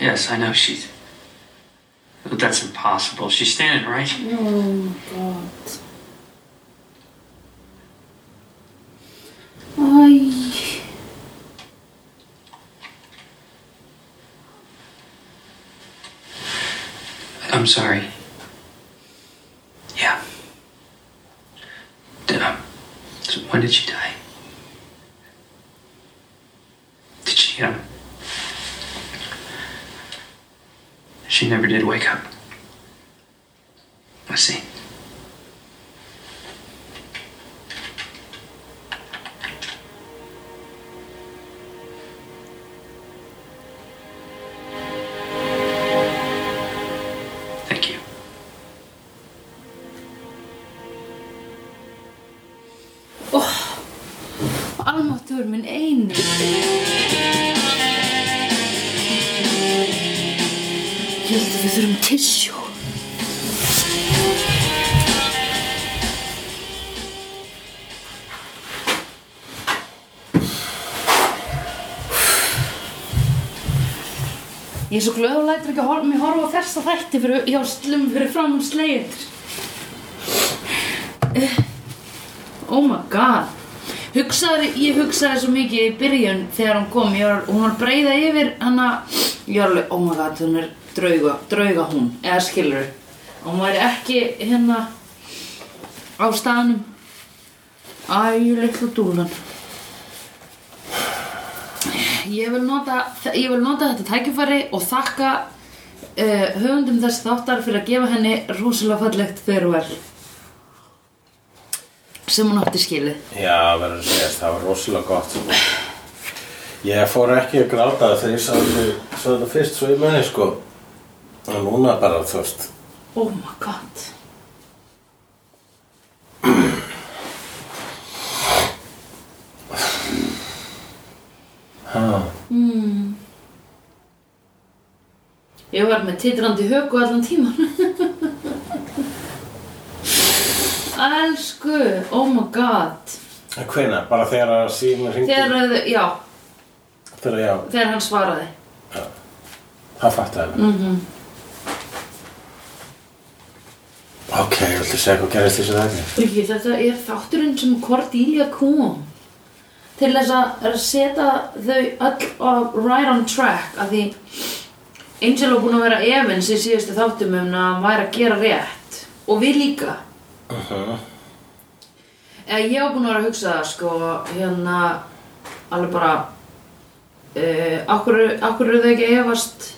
Yes, I know she's. But that's impossible. She's standing right. Oh God. I. I'm sorry. Yeah. Did, um, so when did she die? Did she, um. She never did wake up. I see. Thank you. Almáttugur minn eini. Ég held að við þurfum tissjó. Ég er svo glöð og lætur ekki að horfa, mér horfa á þessa þætti fyrir, hjá slum fyrir fram um slegjendur. Oh my god Hugsaði, ég hugsaði svo mikið í byrjun þegar hún kom, ég var, hún var að breyða yfir hana, ég var alveg, oh my god, hún er drauga, drauga hún, eða skilur, hún væri ekki hérna á staðnum, æ, litla dúlan. Ég vil nota, ég vil nota þetta tækifæri og þakka uh, höfundum þess þáttar fyrir að gefa henni rosalega fallegt farewell sem hún átti skilið. Já, verður að segja, það var rosalega gott sko. Ég fór ekki að gráta þegar ég sá þetta- sá þetta fyrst svo í munni sko og núna bara þú veist Oh my god ha, Hmm. Ég var með titrandi höku allan tíman Elsku, oh my god Hvena? Bara þegar að síðan hringdi? Þegar, að- já, Þegar, já, þegar hann svaraði það fattu henni mm -hmm. Ok, viltu segja hvað gerist í þessu þætti? Ég, Þetta er þátturinn sem Cordelia kom til þess að að setja þau öll á right on track af því Angel var búin að vera efins í síðustu þáttum um að hann væri að gera rétt og við líka Mhm. Eða Eh, ég var búin að vera að hugsa það sko hérna alveg bara uh, okkur, okkur eru þau ekki að efast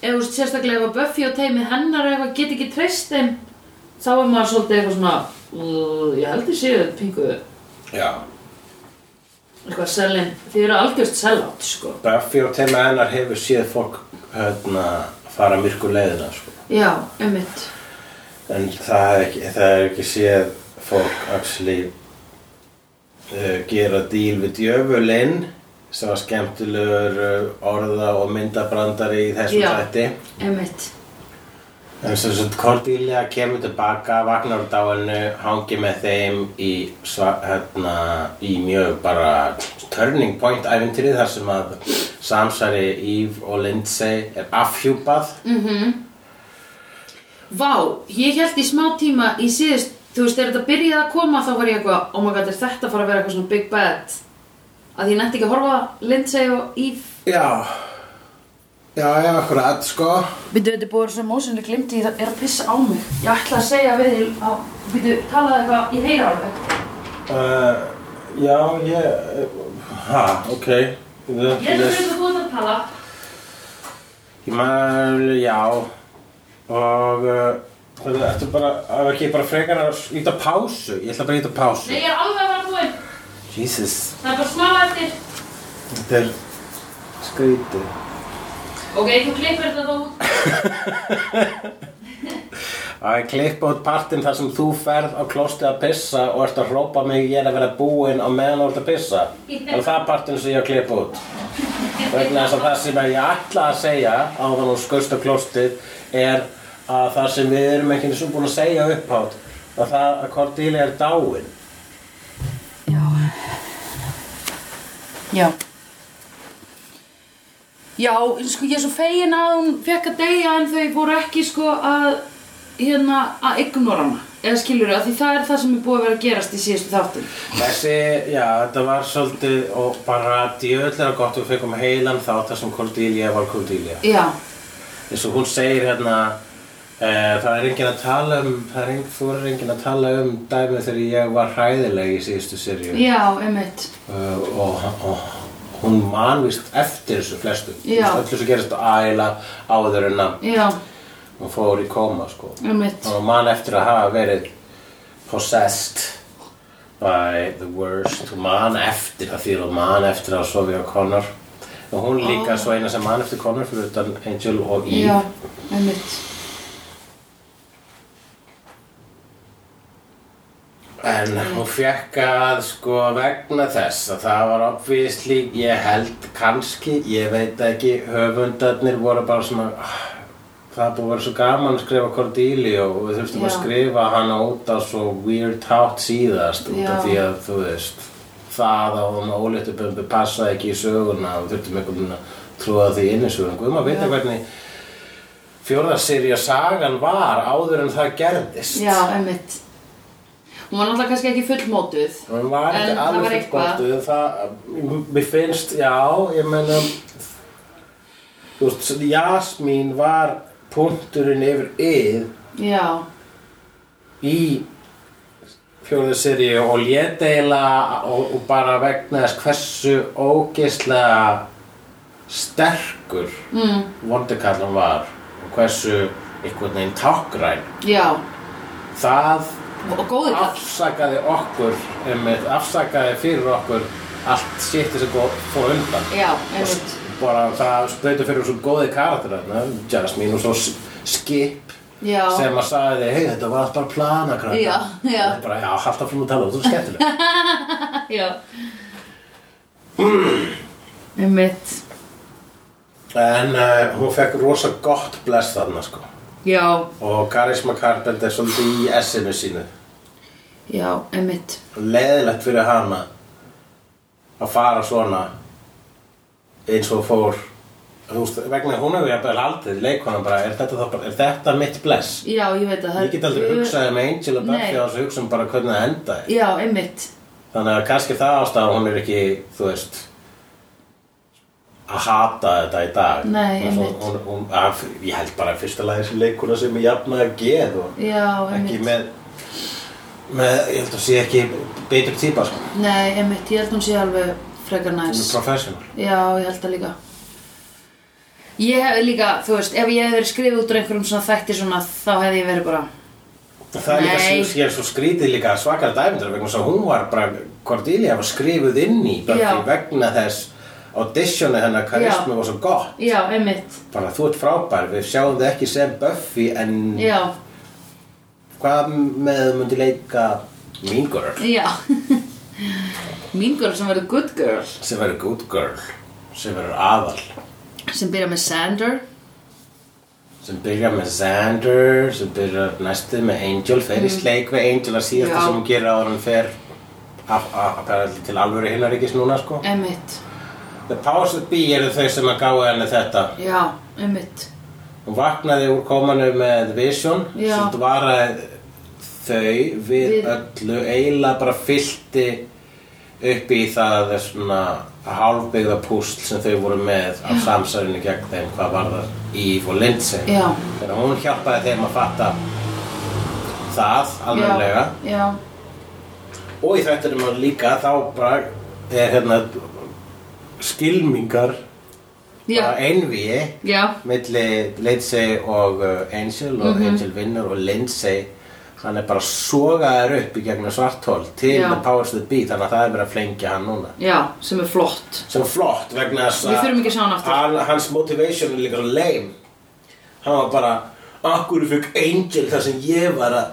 ef þú veist sérstaklega ef að Buffy og teimið hennar eða eitthvað get ekki treyst þeim þá er maður svolítið eitthvað svona uh, ég held ég séu þetta pingu Já eitthvað selin, þið eru algjörst sellátt sko Buffy og Tema hennar hefur séð fólk hérna fara myrku leiðina sko já, einmitt En það er ekki, það er ekki séð fólk actually uh, gera díl við djöfulinn sem var skemmtilegur uh, orða og myndabrandari í þessum Já. þætti einmitt, En sem sagt Cordelia kemur tilbaka, vagnar á dáinu, hangi með þeim í, sva, hérna, í mjög bara turning point æfintýri þar sem að samsari Eve og Lindsay er afhjúpað. vá ég held í smá tíma í síðust þú veist, þegar þetta byrjaði að koma þá var ég eitthvað oh my god, er þetta að fara að vera eitthvað svona big bad að ég nætti ekki að horfa Lindsay og Eve Já, já, já, akkurat sko. Býtu, þetta er búið sem mósinu glimti, ég er að pissa á mig. Ég ætla að segja við því, á- býtu, talaði eitthvað, ég heyra alveg. Uh, já, ég, eh, ha, ok. Ég er að fyrir þú ert að tala. Ég maður, já Og uh, Það ertu bara, það er ekki bara frekar að íta pásu Ég ætla bara að íta pásu Nei, ég er alveg að vera búinn. Jesus Það er bara smala eftir. Þetta er skrítið Ok, þú klippir þetta þá út. Að ég klippa út partinn þar sem þú ferð á klostið að pissa og ert að hrópa mig ég er að vera búinn á meðan þú ert að pissa og það er partinn sem ég að klippa út vegna þess að það sem ég ætla að segja á þannig að skust á klostið er að það sem við erum ekki eins og búin að segja upphátt að það að Cordelia er dáin Já. Já. Já, en sko ég er svo fegin að hún fekk að deyja en þau voru ekki sko að hérna að ignora hana eða skilur þau, því það er það sem er búið að vera að gerast í síðustu þáttum Þessi, já, þetta var svolítið og bara djöðlega gott við fengum heilan þátt þar sem Cordelia var Cordelia. Já, Eins og hún segir hérna, e, það er enginn að tala um, það er enginn, þú er enginn að tala um dæmið þegar ég var hræðileg í síðustu serju. já, einmitt Uh, og, og hún man vist eftir þessu flestu. Já. Þú veist, Öllu sem gerist æla áður en að Já, hún fór í koma, sko. einmitt Og mann eftir að hafa verið possessed by the worst og mann eftir að fyrir og mann eftir að sofi á Connor og hún líka svo eina sem mann eftir Connor fyrir utan Angel og Eve Já, einmitt en hún fekk að sko vegna þess að það var obviously ég held kannski, ég veit ekki höfundarnir voru bara svona "Ah, það er búið að vera svo gaman að skrifa Cordelia og við þurftum að Já. skrifa hana út á svo weird hátt síðast út Já. af því að þú veist það að hún óléttu bumbi passaði ekki í söguna og þurftum einhvern veginn að trúa því inn í söguna og maður veit hvernig fjórðarserja sagan var áður en það gerðist Já, einmitt Hún var náttúrulega kannski ekki fullmótuð Hún var ekki En það alveg var fyrir eitthvað. gottuð, það, mér finnst, já, ég meina, þú veist, Jasmín var punkturinn yfir yð Já, í fjóðu seríu og lét eiginlega og, og bara vegna þess hversu ógeislega sterkur mm, vondikallan var og hversu einhvern veginn tákgræn. já Það Og góði kall afsakaði okkur einmitt, afsakaði fyrir okkur allt sétti sem gó- fór undan Já, einmitt bara það spreytu fyrir svo góði karakterarna Jasmine og svo S- Skip Já, sem að sagði, hei þetta var allt bara plana krakkar." Já, já. Og bara, já, halda frum að tala, þú er skemmtileg já Einmitt en uh, hún fekk rosa gott bless þarna sko Já, og Karisma Carpenter er svolítið í essinu sínu já, einmitt leðilegt fyrir hana að fara svona eins og fór þú veist, vegna hún hefur jafnvel haldið leikona bara, er þetta, þá bara, er þetta mitt bless? Já, ég veit að það Ég get aldrei hugsað um Angel og Buffy Nei. á þessu hugsa um bara hvernig það endaði Já, einmitt þannig að kannski það ástæða hún er ekki, þú veist að hata þetta í dag Nei, Hún er svo- einmitt. hún, hún, að, ég held bara í fyrsta lagi þessi leikona sem er jafnaði að geð og Já, ekki einmitt með með, ég held að sé ekki betur típa sko Nei, einmitt, ég held hún sé alveg frekar Hún næs er professional. Já, ég held það líka Ég hefði líka, þú veist, ef ég hefði verið skrifið út úr einhverjum svona þætti svona þá hefði ég verið bara Það er líka Nei. sem ég er svo skrítið líka svakar dæmyndur vegna þess að hún var bara, Cordelia var skrifuð inn í Buffy Já. vegna þess auditionu hennar Já. karismi var svo gott. Já, einmitt, Bara þú ert frábær, við sjáum þið ekki sem Buffy en já, hvað með þú myndi leika Mean Girl já Mean girl sem verður good girl sem verður Good Girl sem verður aðal sem byrja með Sander sem byrjar með Xander sem byrjar næstuð með Angel fer í sleik við Angel að síðasta Mhm. Já. sem hún gerir áður en fer af, af, af, til alvöru hinnaríkis núna sko Einmitt, The powers that be eru þau sem að gáði henni þetta. já, einmitt Hún vaknaði úr komanu með Vision Já. sem dvaraði þau við, Við- öllu eiginlega bara fyllti upp í það svona hálfbyggða púsl sem þau voru með af samsarinu gegn þeim hvað var það Eve og Lindsay Já. þegar hún hjálpaði þeim að fatta það alveglega Já, já, og í þættinum var líka þá bara er hérna skilmingar bara já, einvíi já. milli Lindsay og uh, Angel og Mhm. Angel vinnur og Lindsay hann er bara sogaður upp í gegnum svarthól til Já. the powers that be þannig að það er verið að flengja hann núna Já, sem er flott sem er flott vegna þess Við þurfum ekki að sjá hann aftur. hann, hans motivation er líka svo lame hann var bara akkur fikk Angel þar sem ég var að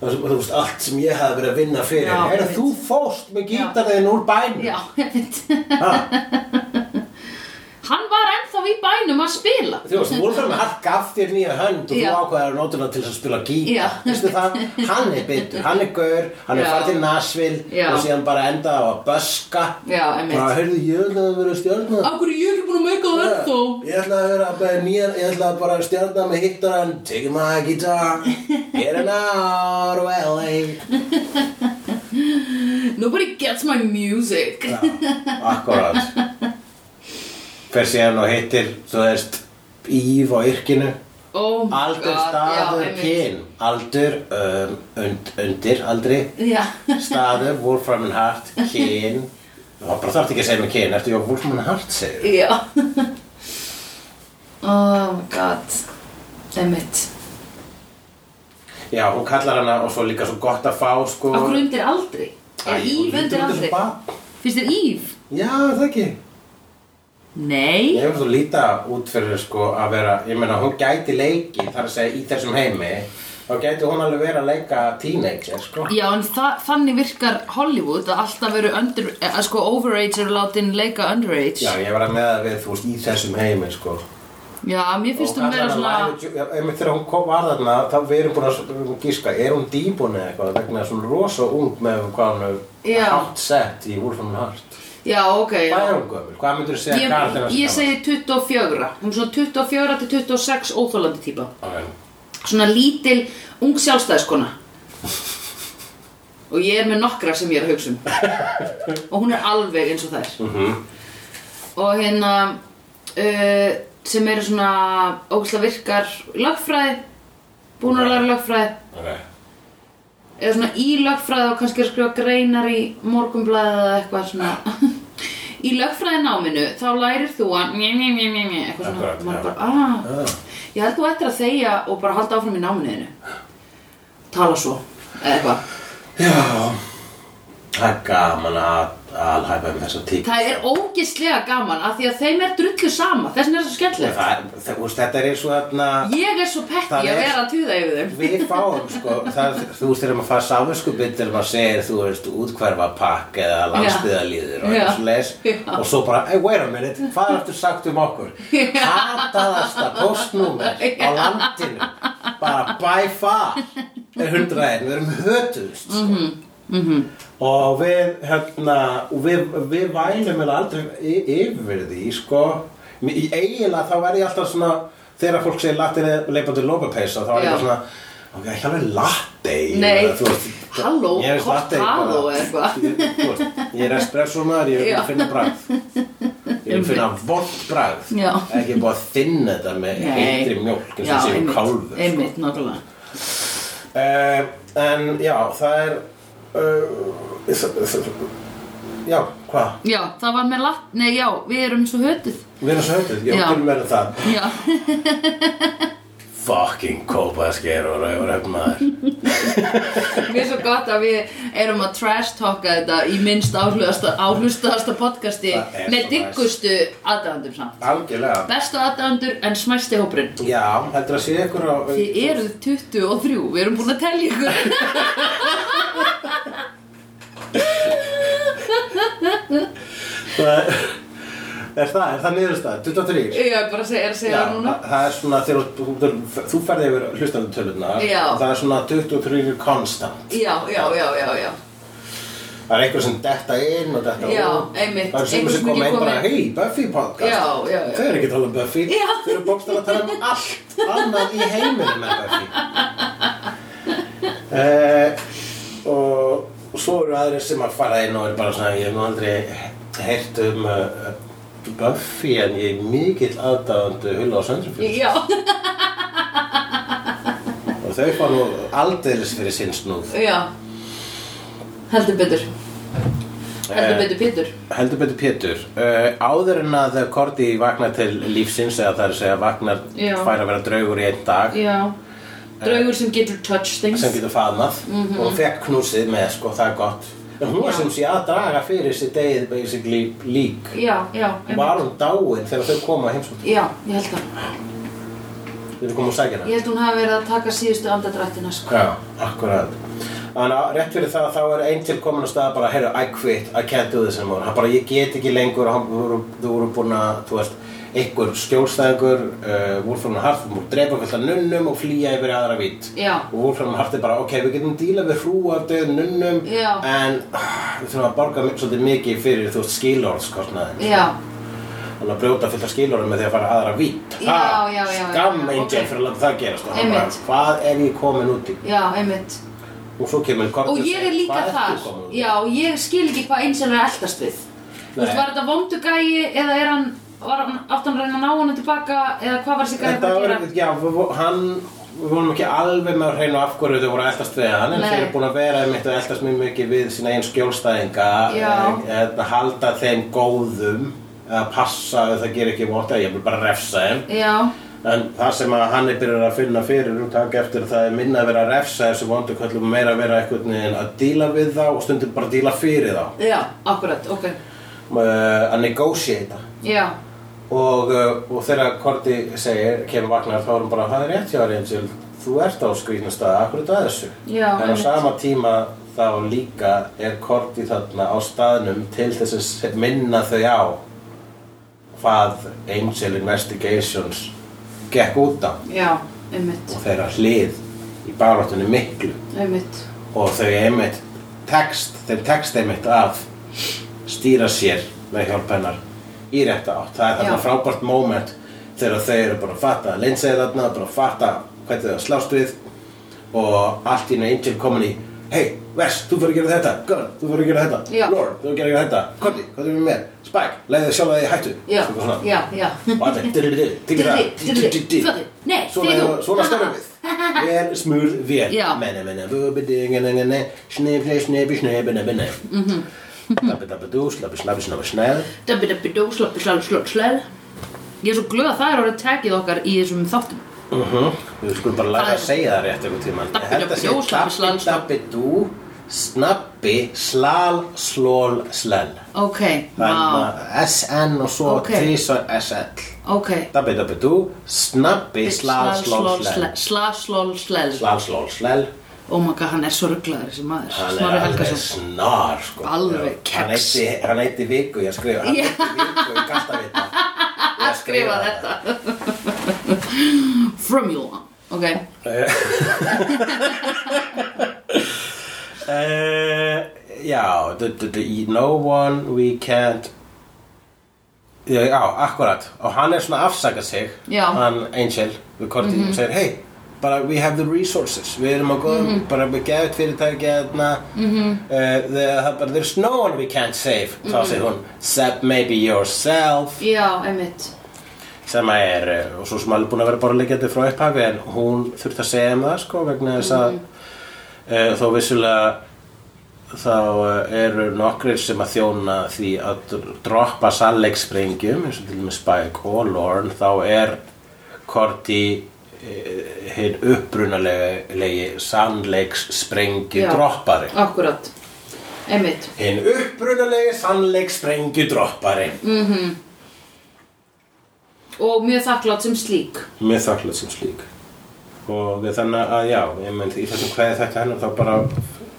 það sem- þú veist, allt sem ég hafði verið að vinna fyrir Já, er einmitt. þú fóst með gítarðin úr bænum Já, einmitt Ha? Hann var ennþá í í bænum að spila Þú veist, Wolfram Hart gaf þér nýja hönd og Já. þú ákveðar nótuna til þess að spila Já. gítar Veistu það? Hann er bitur, hann er gaur, hann er Já. farið til Nashville Já. og síðan bara endaði á að böska Já, einmitt. Ah, Bara, heyrðu, ég ætlaði að vera stjörna Af hverju er ég ekki búin að meika það ennþá? Ég ætlaði að vera bara nýjar, ég ætlaði bara að stjörna með hittaran Take my guitar, get an hour of LA Nobody gets my music Akkurat Hver síðan og hittir, þú veist, Íf á yrkinu Oh my Aldur, god, já, staður, einmitt. kyn Aldur, um, und, undir, aldri Já, Staður, Wolfram and Hart, kyn Það var bara þarf ekki að segja með kyn Ertu ég að Wolfram and Hart segir já Oh my god Emmett Já, hún kallar hana og svo líka svo gott að fá sko Af hverju undir aldri? Er Æ, hún Íf undir lítur út eins og aldri? barn. Finnst þér Íf? Já, er það ekki Ég Nei hefur þú líta út fyrir sko að vera Ég meina, hún gæti leiki þar að segja í þessum heimi Þá gæti hún alveg verið að leika teenager sko Já, en þa þannig virkar Hollywood að alltaf veru under, að sko overage eru látin leika underage Já, ég var að meða við, þú veist, í þessum heimi sko Já, mér finnst hún vera svona Einmitt þegar hún kom var þarna, þá við erum búin að við erum að gíska, er hún dýbúin eða eitthvað vegna þess að hún er rosa ung með hvað hún Já. er hátt sett í Wolf and Heart. Já, ok já. Hvað er hún gömul? Hvað myndur þú segja Ég, karakterna ég segi 24 Hún er svona 24 til 26 óþólandi típa Svona lítil, ung sjálfstæðiskona Og ég er með nokkra sem ég er að hugsa um Og hún er alveg eins og þær Mhm. Og hérna uh, Sem eru svona ógæslega virkar Lögfræði Búin að læra lögfræði Okay. eða svona í lögfræði og kannski er að skrifa greinar í morgumblæði eða eitthvað svona í lögfræðináminu þá lærir þú að mjö, mjö, mjö, mjö, mjö, eitthvað svona Akkurat, maður já. bara, ah, ég held þú ættir að þegja og bara halda áfram í náminuðinu tala svo eða eitthvað Já, það er gaman að alhæfa um þessa típ. það er ógislega gaman af því að þeim er drullu sama þess vegna er það svo skemmtilegt Það, er- það, úst, þetta er eins og þarna, ég er svo Það pekki að er- vera að tuða yfir þeim við fáum sko, það, þú veist þegar maður fara sáfinskubind þegar maður segir, þú veist, útkverfa pakk eða landsbyðalíður og Já. eins og leis Já. og svo bara, hey, wait a minute, hvað ertu sagt um okkur? Hataðasta postnúmer á landinu, bara by far er hundraðin, við erum hötuðust sko. Mhm. og við, hérna, og við, við vælum eða aldrei y- yfir því, sko, Mér- í eiginlega þá verð ég alltaf svona, þegar fólk segir latin eða leipandi lópapeysa, þá er ég Já. bara svona, ok, ekki alveg latte Nei, Þú veist, halló, ég er latte cortado eða bara- eitthvað. Ég- þú veist, Ég er espresso maður, ég vil Já. finna bragð Ég vil finna vort bragð Já. Ekki búið að þinna þetta með Nei. heitri mjólk eins já, og séum einmitt, kálfur sko. einmitt, nákvæmlega uh, En já, það er uh, þ- þ- þ- Já, hvað? já, það var með latt, nei já, við erum svo hötuð Við erum svo höfðið, ég Já. vil verða það já, Fucking kópaðsker og rauðröfn maður Mér er svo gott að við erum að trash talka þetta í minnst áhlustasta, áhlustasta podcasti Það er með svo diggustu aðdæðandum samt. Algjörlega Bestu aðdæðandur en smæsti hópurinn. Já, heldur að sé ykkur á Þið eruð 23, við erum búin að telja ykkur. Það- Er það, er það niðurstað? 23? Ég er bara að segja, er að segja Já, það núna. það- það er svona þegar þú- þú- þú ferði yfir hlustandutölunar Já. það er svona 23 konstant Já, já, já, já, já. það er einhver sem detta inn og Já, detta út. einmitt. það er sem Einhver sem sem koma ekki inn kom bara inn. hei Buffy Já, podcast já, já. þau eru ekki að tala um Buffy Já. þau eru bókstæðan að tala um allt annað í heiminum með Buffy eh, og svo eru aðrir sem að fara inn og eru bara svona ég hef nú aldrei heyrt um uh, Buffy en ég er mikill aðdáðandu hulla á söndrufjörn Já, Og þau fá nú aldeilis fyrir sinn snúð. já. Heldur betur. Heldur Eh. betur Pétur. Heldur betur Pétur, uh, áður en að Korti vaknar til lífsins eða það er að segja vaknar Já. fær að vera draugur í einn dag Já. Draugur sem getur touch things. sem getur faðmað og hún fekk knúsið með sko, það er gott. En hún var Mhm. Já. sem sé að draga fyrir sér degið basically lík. Já, já. einmitt. Var hún dáin þegar þau koma heimsótt? Já, ég held það. Þau koma og sækja hana? Ég held hún hafi verið að taka síðustu andadrættina, sko. Já, akkurat Þannig að rétt fyrir það þá er einn til komin á stað bara, heyrðu, I quit, I can't do this anymore Hann bara, ég get ekki lengur, hann, þú voru, þú voru búin að, þú veist einhver skjólstæðingur uh, Wolfram og Hart múr drepa fullt af nunnum og flýja yfir í aðra vít Já. og Wolfram og Hart er bara ok, við getum dílað við hrú af döð nunnum Já. en ah, við þurfum að borga mi- svolítið mikið fyrir þú veist skilorðskostnaðin já, þannig að brjóta fullt af skilorðum með því að fara aðra vít Já, Ha, já, já, já, skam já, enginn ok. fyrir að láta það gerast og hann Einmitt. bara, hvað er ég komin út í já, einmitt og svo kemur Cortez Og ég er líka hvað þar, ertu komin út í? já, ég skil ekki hvað einsinn er að eldast við Þú veist, Nei. var þetta vondu gæi eða er hann, var hann, átt hann að reyna að ná hann tilbaka eða hvað var þessi gæi Þetta að var, gera? já, við, vo- hann, við vorum ekki alveg með að reyna af hverju þau voru að eldast við hann en Nei. þeir eru búin að vera einmitt að eldast mjög mikið við sína einn skjólstæðinga Já. að halda þeim góðum eða passa að það ger ekki vort eða ég vil bara refsa þeim Já, en það sem að hann er byrjað að finna fyrir um takk eftir það er minna að vera að refsa þessu vondu kvöldum meira að vera einhvern veginn að díla við þá og stundum bara að díla fyrir þá já, akkurat, ok, uh, að negotiata já, og, uh, og þegar Korti segir, kemur vagnar, þá er hún bara, það er rétt hjá Reynsil, þú ert á skrýtnum staða, akkur er þetta að þessu? Já, en á einmitt. sama tíma þá líka er Korti þarna á staðnum til þess að se- minna þau á hvað Angel Investigations gekk út á já, einmitt, og þeirra hlið í baráttunni miklu einmitt, og þau einmitt text, þeim text einmitt að stýra sér með hjálp hennar í rétta átt. Það er þarna Já. frábært moment þegar þau eru bara að fatta að linsa þarna, bara að fatta hvernig þau að slást við og allt í einu Angel komin í Hey, Wes, þú fyrir að gera þetta, Gunn, þú fyrir að gera þetta, Já. Lord, þú fyrir að gera þetta, Cody, hvað er við með, Spike, leiði þið sjálf að þið hættu, já, Svona svona. já, já. og allir, dilli, dilli, dilli, Dilli, dilli, dilli, nei, svona, þið þú. svona störum við, vel smur vel, Já. menna, menna, vöbidinginninginni, snifni, snifi, snifina, binni, Mhm. dabbi, dabbi, dú, slabbi, slabbi, snabbi, snæð, Dabbi dabbi dó, slappi slappi slappi slappi Ég er svo glöð að það er orðið tekið okkar í þessum þáttum við skulum bara læra Mhm. Það að er- segja það rétt einhvern tímann, Dabbi, Ég held að dabbi, sé dú, slabbi, slal, dabbi, dabbi, dú, snabbi, slal, slól, slel, Ok, vá, þannig að SN og svo Ok. trísar SL, ok dabbi, dabbi, dú, snabbi, slal, slól, slel, Slal, slól, slel slal, slól, slel, Ómaga, Oh hann er svo rugglaður þessi maður Hann er Snorri alveg Helgason snar sko. Alveg Hann keks. eitti, hann eitti viku í að skrifa Hann Já. eitti viku í kastavita Í að skrifa þetta Formula ok, uh, Já du, du, du, í No one we can't Já, já, akkurat Og hann er svona að afsaka sig Já. Mhm. Hann Angel við kortið mm segir Hey, bara we have the resources Við erum að góðum, bara við gefið fyrirtæki hérna mm -hmm. Mhm. But there's no one we can't save Þá segir hún Except maybe yourself já, einmitt sem að er, eh, og svo sem alveg búin að vera bara leikjandi frá upphafi en hún þurfti að segja um það sko vegna þess að e, þó vissulega þá eh, eru nokkrir sem að þjóna því að dr- droppa sannleiksprengjum eins og til dæmis Spike og Lorne þá er Korti hinn upprunalegi sannleiksprengju Já. droppari akkurat, einmitt hinn upprunalegi sannleiksprengju droppari og mjög þakklátt sem slík með þakklæð sem slík og við þannig að já ég mynd í þessum hverði þetta hennar þá bara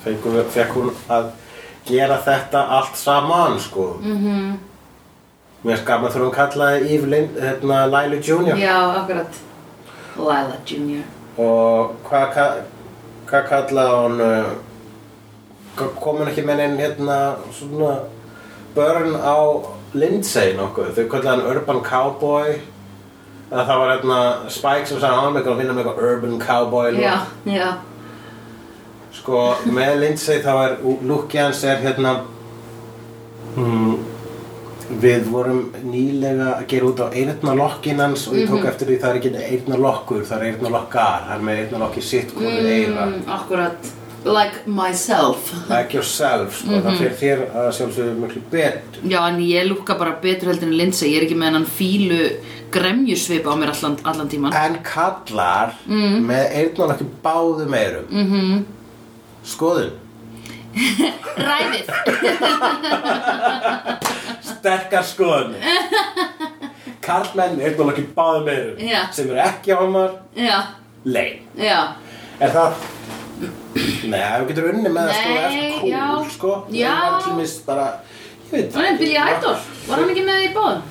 fekk, fekk hún að gera þetta allt saman sko mm -hmm. mér er gaman þegar hún kallaði Yves hérna, Lyle Jr. já, akkurat Lila Junior og hvað ka- hvað kallaði hún uh, ka- kom hún ekki með einn hérna svona börn á Lindsay nokkuð þau kallaði hann Urban Cowboy eða það var hérna Spike sem sagði hann með eitthvað að finna með eitthvað Urban Cowboy look." já, já, sko með Lindsay þá er lukki hans er hérna mm, við vorum nýlega að gera út á eirna lokkin hans og ég tók eftir því það er ekki eirna lokkur, það er eirna lokkar hann er með eirna lokki sitt komið mm. eira mm, akkurat like myself like yourself sko, það fyrir þér að sjálfsögðu miklu betur já, en ég lúkka bara betur heldur en Lindsay ég er ekki með hennan fílu gremjusvip á mér allan, allan tíman en kallar mm. með eirna lokki báðum eirum mm -hmm. skoðun ræðið sterkar skoðun karlmenn með eirna lokki báðum eirum Já. sem eru ekki homar já, lein já Er það? Nei, þú getur unni með það sko Nei, eftir kúl, já. sko Já. Það er tímis bara, ég veit Hann er Billy Idol, var hann ekki með í báðum?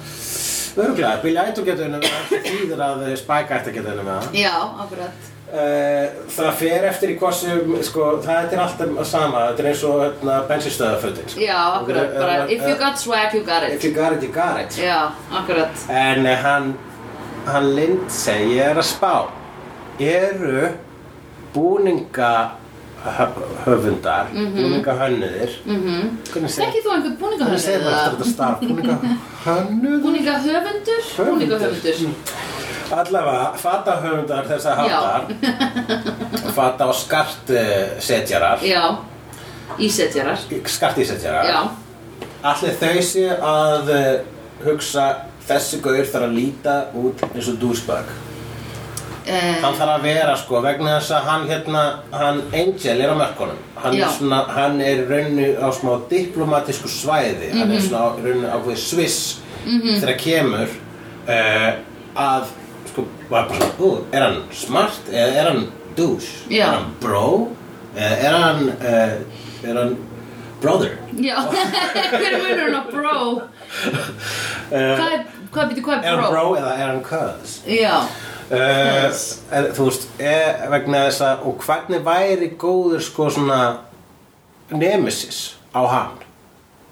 Örgulega, Billy Idol getur unni með það, þýðir að Spike ætti að geta unni með það. Já, akkurat. Eh, Það fer eftir í hversu, sko, það er alltaf sama, þetta er eins og hérna, bensinstöðafötin. sko. Já, akkurat. Bara, if you got swag, you got eh, it. If you got it, you got it. Já, akkurat. En eh, hann, hann Lindsay, ég er að spá, eru búningahöfundar, mm -hmm. búningahönnuðir, mm -hmm. hvernig segir Þekkið Mhm. þú einhvern hvernig segir maður eftir búningahöfundur? þetta starf, búningahönnuður? Búningahöfundur? Búningahöfundur. Allavega, fatahöfundar þessa hattar, fata og skartsetjarar, Já, ísetjarar. skartísetjarar, Já, allir þau sé að eh, hugsa þessi gaur þarf að líta út eins og dúsbag. eh, Hann þarf að vera sko vegna þess að hann hérna, hann Angel er á mörkunum. Hann Já. er svona, hann er í rauninu á smá diplomatísku svæði, hann Mhm. er svona á rauninu á við Sviss þegar kemur uh, að sko, var bara svona, ú, er hann smart eða er hann douche? Já. Er hann bro? Eða er hann, uh, er hann brother? já. Hver er munurinn á bro? Hvað er, hvað býtu, hvað Eh, Er er hann bro? bro eða er hann cuz? Já, Eh, Yes. en þú veist, er, vegna þess að og hvernig væri góður sko svona nemesis á hann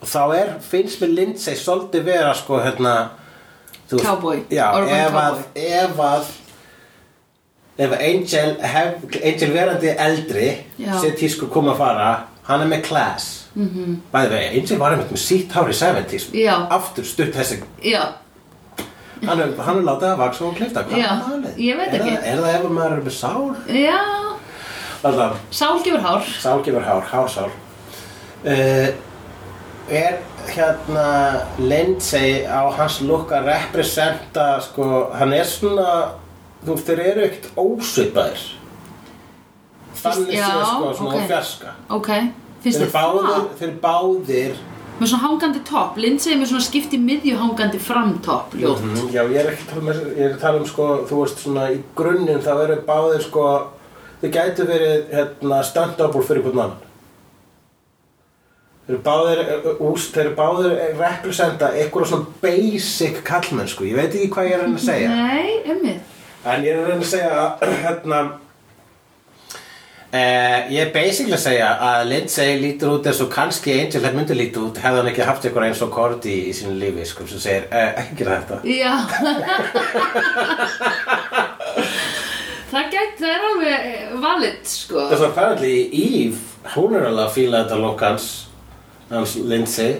og þá er, finnst mér Lindsay svolítið vera sko hérna þú Cowboy, já, urban ef að, cowboy. ef að ef að Angel, hef, Angel verandi eldri Já. sér tískur koma að fara hann er með class mm -hmm. bæði vegi, Angel var einmitt með sítt hár í 70s Mhm. Já. aftur stutt þessi já. Hann er, hann er látið að vaksa og klifta, hvað Já, er málið? ég veit Er ekki. það- Er það ef maður er með sár? Já, Alltaf, sál gefur hár. sár gefur hár, hársár. Uh, er hérna Lindsay á hans lukk að representa, sko, hann er svona, þú veist, þeir eru ekkert ósvipaðir. Þannig Já, séu, sko, ok. svona okay. fjarska. Ok, Þeir finnst eru þið báðir, það? þeir eru báðir, Með svona hangandi topp, Lindsay er með svona skipti miðju hangandi framtopp, ljótt. Mhm, já, ég er ekki að tala um, ég er að tala um sko, þú veist svona í grunninn þá eru báðir sko, þau gætu verið hérna stand-double fyrir hvern annan. Þeir eru báðir, uh, úst, þeir eru báðir representa eitthvað svona basic kallmenn sko, ég veit ekki hvað ég er að reyna að segja. Nei, ummið. En ég er að reyna að segja að hérna Uh, ég er basically að segja að Lindsay lítur út eins og kannski Angel hefði myndi lítur út hefði hann ekki haft eitthvað eins og Cordy í sínu lífi sko, sem segir, uh, ekki gera þetta Já. það gæti, það er alveg valid, sko. Because apparently Eve, hún er alveg að fíla þetta lók hans, hans Lindsay.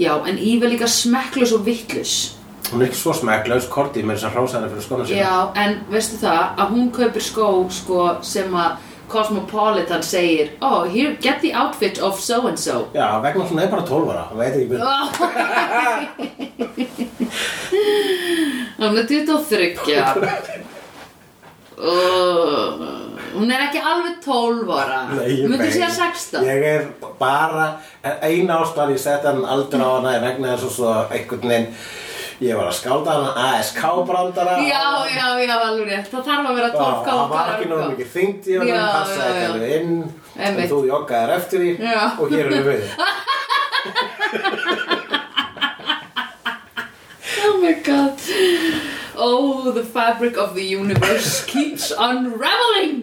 Já, en Eve er líka smekklus og vittlus. Hún er ekki svo smekklaus, Korti með þess að hrósa henni fyrir skona sína. Já, en veistu það að hún kaupir skó sko, sem að Cosmopolitan segir Oh, here, get the outfit of so and so Já, vegna hún er bara 12 ára, hún veit ekki byrja. Hún er 23 uh, Hún er ekki alveg 12 ára Myndu segja 16 Ég er bara, eina ástæðan ég setja hann aldrei á hana er vegna þess að svo einhvern veginn, ég var að skálda hana ASK-brandara. Já, já, já, alveg rétt Það þarf að vera Já, 12 það var ekki náttúrulega mikið þyngt í honum, Já, passaði já, ekki já. alveg inn, en Einmitt. þú joggaðir eftir því Já. og hér erum við. Oh my god. Oh, the fabric of the universe keeps unraveling.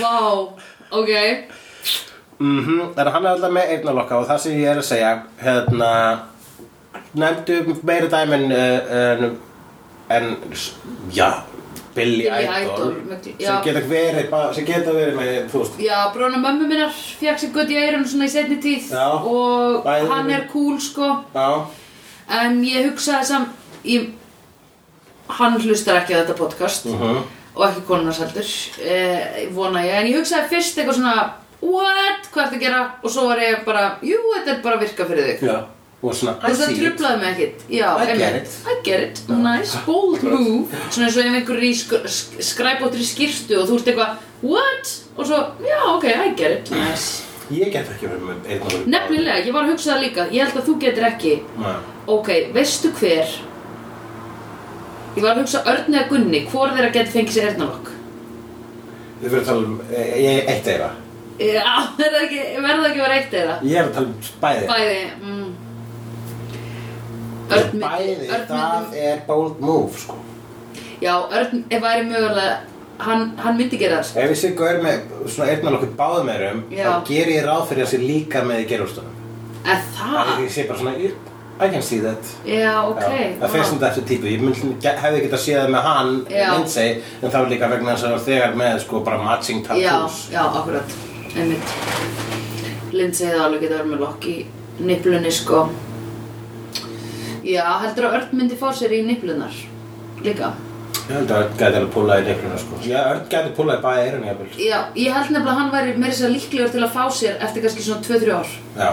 Wow. Ok. Mhm, mm þannig að hann er alltaf með eyrnalokka og það sem ég er að segja, hérna, nefndu meira dæmi en, uh, en, en s- já, Billy Billy Idol, Idol, miklu- já. sem geta verið, bara- sem geta verið með, þú veist, Já, bróna mömmu minnar fekk sér gutt í eirun svona í setni tíð Já. og Bæði- hann er cool sko já, en ég hugsaði sam ég, hann hlustar ekki á þetta podcast Mhm. og ekki konunars heldur eh, vona ég, en ég hugsaði fyrst eitthvað svona what, hvað ertu að gera og svo var ég bara, jú, þetta er bara að virka fyrir þig já, og svona, Og það trublaði mig ekkert. Já, I get einmitt. it. I get it. Nice, bold move. Svona eins og ef einhver er í sk sk skræbóttri skýrtu og þú ert eitthvað, what? Og svo, já, ok, I get it. Nice. Ég get ekki verið með eyrnalokka. Nefnilega, ég var að hugsa það líka. Ég held að þú getur ekki. Nei. Ok, veistu hver? Ég var að hugsa Örn eða Gunni, hvor þeirra getur fengið sér Erðnalokk? Þið verður að tala um, eh, ég, eitt eira. Já, er það um ekki, verður það ekki að vera eitt eða? Ég er að tala um bæði. Bæði, mm. Örn myndi- Bæði, Örn myndi- það er bold move sko Já, Örn ef væri mögulega, hann, hann myndi gera það sko. Ef ég sé gaur með svona eyrnalokku báðum erum Já. þá ger ég ráð fyrir að sé líka með í gerustunum sko. Er Það er það? ég sé bara svona "Yep, I can see that Já, ok. Já, það fyrst um þetta eftir típu, ég myndi, ge- hefði getað séð það með hann, Já. Lindsay, en það var líka vegna þess að það var þegar með sko bara matching Já, tattoos. já, akkurat. Einmitt. Lindsay hefði alveg getað verið með lokk í niflunni sko. Já, heldur að Örn myndi fá sér í niflunar líka. Ég held að Örn gæti alveg púlaði nefnuna sko. Já, Örn gæti púlaði bæði eirun jafnvel. Já, ég held nefnilega að hann væri meira sér líklegur til að fá sér eftir kannski svona 2-3 ár. Já,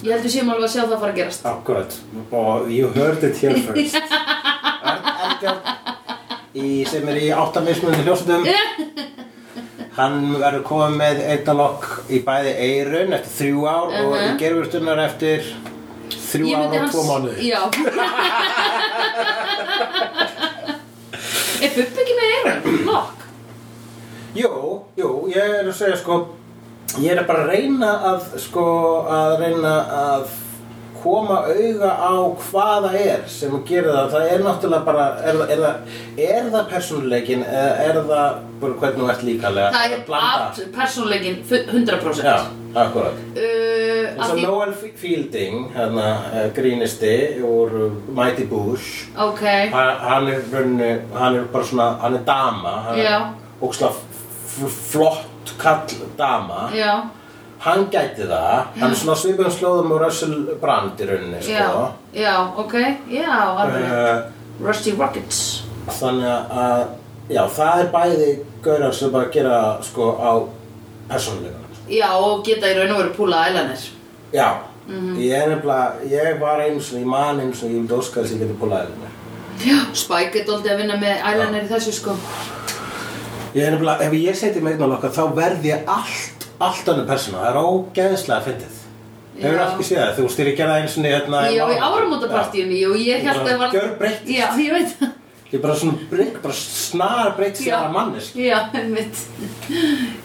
Ég held við séum alveg að sjá það fara að gerast. akkurat. Og you heard it here first. Örn Eldjárn, í, sem er í áttamismunni hljóstum, hann verður komið með einnalokk í bæði eirun eftir þrjú ár og Mhm. í gerfustunar eftir þrjú Ég ár myndi og hans- tvo mánuði. Já. er Bubbi ekki með eyrun? Lokk? Jú, jú, ég er að segja sko Ég er bara að reyna að sko að reyna að koma auga á hvað það er sem gerir það það er náttúrulega bara er, það- er, það, er það persónuleikin eða er það bara hvernig þú ert líkalega Það Að er blanda. allt persónleikin 100%. Já, akkurat Uh, eins að og því, Noel F- Fielding hérna, eh, grínisti úr Mighty Bush ok, hann, hann er rauninu, hann er bara svona, hann er dama hann Já. er ókslega flott kall dama já, hann gæti það hann er svona svipum slóðum og Russell Brand í rauninni já, sko. já, ok, já, alveg. Eh, Rusty Rockets. þannig að já, það er bæði gaurar sem bara gera sko á persónulegan sko. Já, og geta í raun og veru púla ælanir. já, Mhm. ég er nefnilega ég var einu sinni, ég man einu sinni ég vildi óska þess að ég geti búlaðið henni Já, Spike er doldið að vinna með ælanir í þessu sko. ég er nefnilega, ef ég seti mig einn á lokka þá verð ég allt, allt annar persóna það er ógeðslega fyndið Hefur Já. ekki séð það? Þú veist, ég gerði það einu sinni hérna Já, í Já. áramótapartíunni, jú, ég held að það var... Gjörbreytt. Já, ég veit það. Ég er bara svona breytt, bara snar breytt snara mannesk Já, einmitt.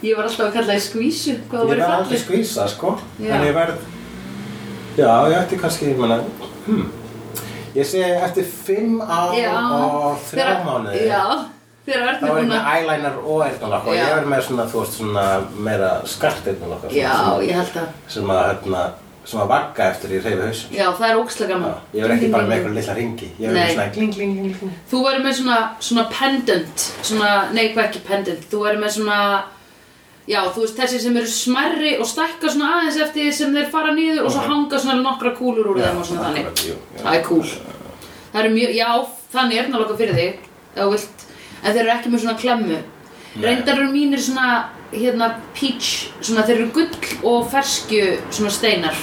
Ég var alltaf að kalla þið skvísu, hvað Ég það verð verið aldrei fallið. skvísa, sko Já. En ég verð Já, ég ætti kannski, ég meina hmm. Ég segi eftir fimm ár Já. og þrjá þegar- mánuði Já, þegar Þá Örn er er ég búin með að... eyeliner og eyrnalokk og Já. ég verð með svona, þú veist, svona meira skart eyrnalokk Já, ég held að... Sem að, hérna, sem að vagga eftir ég reyfi hausum Já, það er ókslega Já, gaman. Ég verð ekki bara með einhver lilla ringi Ég verð Nei. með svona gling, gling, gling, gling Þú væri með svona, svona pendant, svona, nei hvað ekki pendant, þú væri með svona, já þú veist þessi sem eru smerri og stækka svona aðeins eftir því sem þeir fara niður og svo hanga svona nokkra kúlur úr Mhm. Já, þeim og svona þannig. akkurat, jú, já. Það er cool. Það eru mjög, já þannig er náttúrulega fyrir þig, ef þú vilt, en þeir eru ekki með svona klemmu. Reyndar eru mínir svona, hérna peach, svona þeir eru gull og ferskju svona steinar,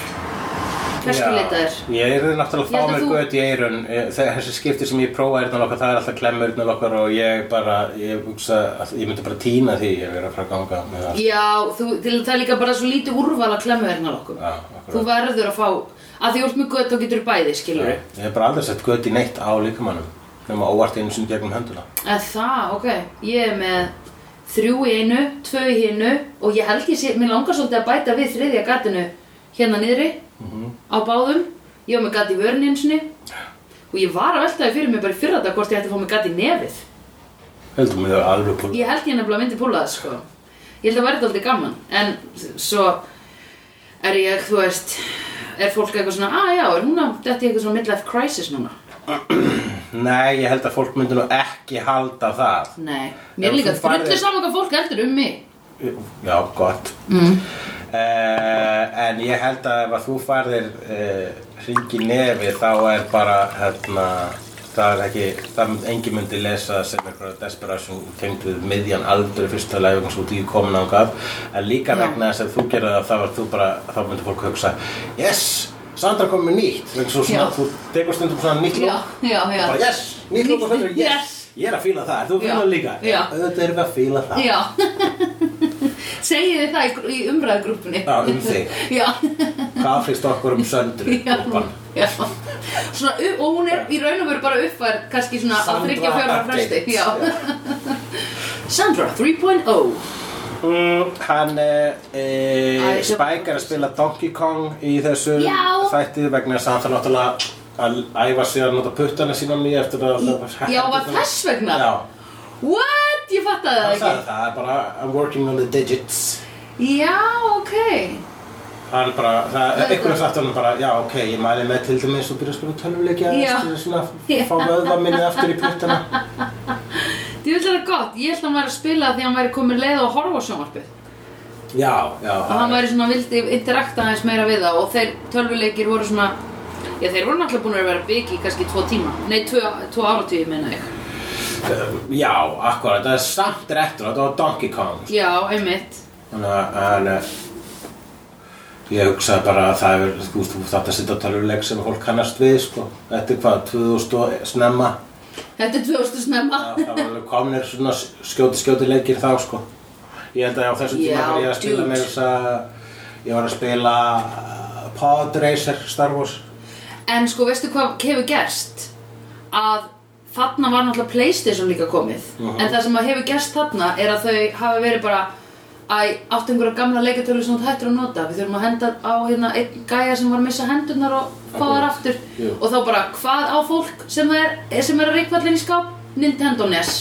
ferskjuleitaðir. Já, Ég er náttúrulega Ég held að fá að mér þú- gött í eirun eh, þe- Þessi skipti sem ég prófa eirnal okkar Það er alltaf klemmu eirnal okkar Og ég bara, ég hugsa að Ég myndi bara tína því ég verið að fara að ganga með það Já, þú, til, það er líka bara svo lítið úrval að klemmu hérna okkur. Já, akkurat. þú verður að fá, að því úr með gött og getur bæði, skilur við. Ég hef bara aldrei sett gött í neitt á líkamannum Nefnum óvart einu sinni gegnum hönduna Eða það, ok. Ég er með þrjú í einu, tvö í hinu og ég held ég sé, mér langar svolítið að bæta við þriðja gatinu hérna niðri Mhm. á báðum. Ég var með gat í vörn einu sinni og ég var að velta því fyrir mér bara í fyrra þetta hvort ég ætti að fá með gat í nefið. Heldum við það alveg púl Ég held ég nefnilega myndi púla það sko Ég held að verði aldrei gaman En s- svo er ég, þú veist Er fólk eitthvað svona, að já, er hún að Þetta er eitthvað svona midlife crisis núna Nei, ég held að fólk myndi nú ekki halda það Nei, Ef mér líka þú færðir- drullu saman hvað fólk heldur um mig Já, gott mm. En ég held að ef að þú færðir uh, hringi nefi þá er bara hérna, það er ekki, það mynd, engin myndi lesa það sem einhverja desperation tengd við miðjan aldur í fyrsta læfum svo því komin ángað en líka Já. vegna þess að þú gerði það þá, er þú bara, þá myndi fólk hugsa yes, Sandra kom með nýtt Vegna svo svona, Já. þú tekur stundum svona nýtt Já, lók já, já bara yes, nýtt lók og stundum yes, Yes. ég er að fíla það, er þú Já. fíla líka Já. auðvitað erum við að fíla það Já Segið þið það í, gr- í umræðugrúppinni Já, um þig. Já, Hvað finnst okkur um söndru? já, Úlpan? já Svona, u- og hún er í raun og veru bara uppfær kannski svona að Sandra þryggja fjóra fresti update. Já Sandra 3.0 Mm, hann eh, eh, Æ, svo- Spike er að spila Donkey Kong í þessu Já. þætti vegna þess að hann þarf náttúrulega að æfa sig að nota puttana sína á nýja eftir að Já, var þess vegna? Já, What? Ég fattaði það hann sagði ekki. það, er bara I'm working on the digits Já, ok. Það er bara, það Það er er einhverja bara- sagt honum bara, já ok, ég mæli með til dæmis og byrja að spila tölvuleikja Já. til þess að Já. svona fá vöðva minni aftur í puttana Þið vil það gott. Ég held að hann væri að spila því að hann væri komin leið og horfa á sjónvarpið. Já, já, Og hann væri svona vildi interakta aðeins meira við það og þeir tölvuleikir voru svona... Já, þeir voru náttúrulega búin að vera bygg í kannski tvo tíma. Nei, tvo, tvo áratugir meina ég. Ehm, já, akkurat, það er samt réttur, þetta var Donkey Kong Já, einmitt. Þannig að- að eh, ég hugsaði bara að það er, þú veist, þú þátt að setja tölvuleik sem fólk kannast við, sko. Þetta er hvað, 2000 og snemma. Þetta er 2000 snemma. Það það var alveg komnir svona skjóti skjóti leikir þá, sko. Ég held að á þessum tíma Já, var ég að spila dude. með þess að, ég var að spila eh, Pod Racer Star Wars. En sko, veistu hvað hefur gerst? Að þarna var náttúrulega Playstation líka komið En það sem að hefur gerst þarna er að þau hafa verið bara Æ, áttu einhverja gamla leikatölu sem þú hættir að nota Við þurfum að henda á hérna einn gæja sem var að missa hendurnar og fá þar aftur Jú. Og þá bara, hvað á fólk sem er, sem er að reikvallin í skáp? Nintendo NES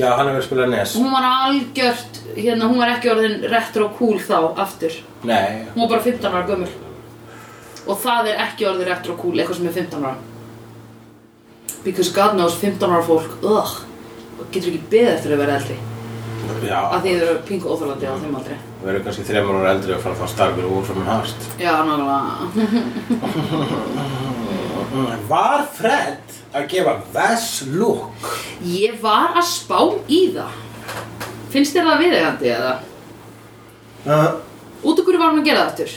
Já, hann hefur spilað E NES. Hún var algjört, hérna, hún var ekki orðin retro cool þá aftur Nei, Hún var bara 15 ára gömul Og það er ekki orðið retro cool Eitthvað sem er 15 ára Because God knows 15 ára fólk Ugh Getur ekki beðið eftir að vera eldri já, Að því þau eru pingu óþorlandi á þeim aldrei við verðum kannski þreymur ára eldri og fara þá starfur úr frá minn hast. Já, nákvæmlega Var Fred að gefa Vess lúk? Ég var að spá í það Finnst þér það viðegandi eða? Uh, Út okkur var hann að gera það aftur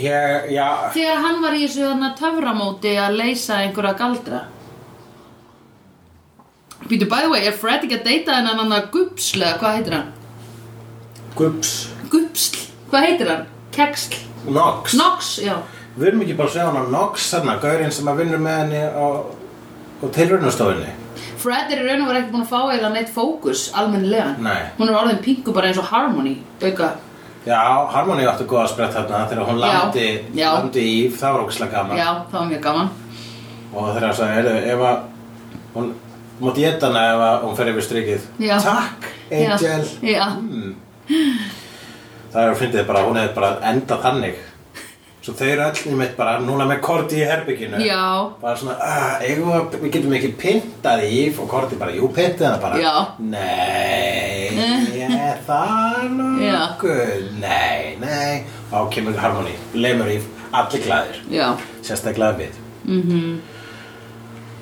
ég, já, Þegar hann var í þessu þarna töframóti að leysa einhverja galdra Býtu, by the way, er Fred ekki að deyta hennan hann að gubslega, hvað heitir hann? Gups, Gupsl, hvað heitir hann? Keksl, Nox Nox, já Við erum ekki bara að segja hann á Nox þarna, gaurinn sem að vinnur með henni á, á tilraunastofinni Fred er í raun og verið ekki búin að fá eða neitt fókus almennilega Nei. Hún er orðin pingu bara eins og Harmony auka Já, Harmony átti góða sprett þarna þegar hún Já, landi, já. landi í Eve, það var ógislega gaman Já, það var mjög gaman Og þegar hann sagði, heyrðu, ef að hún mátti geta hana ef að hún fer yfir strikið Já. Takk, Angel Já, já. Það er að fyndið bara, hún hefði bara endað þannig Svo þau eru öll í mitt bara, núna með Korti í herbygginu Já. Bara svona, "Ah, eigum við að- við getum ekki pyntað í Og Korti bara, jú, pyntið hana bara Já. Nei, er það Já. nokkuð Nei, nei Þá kemur harmoni, lemur í allir glæðir já, Sérstaklega við Mhm. -hmm.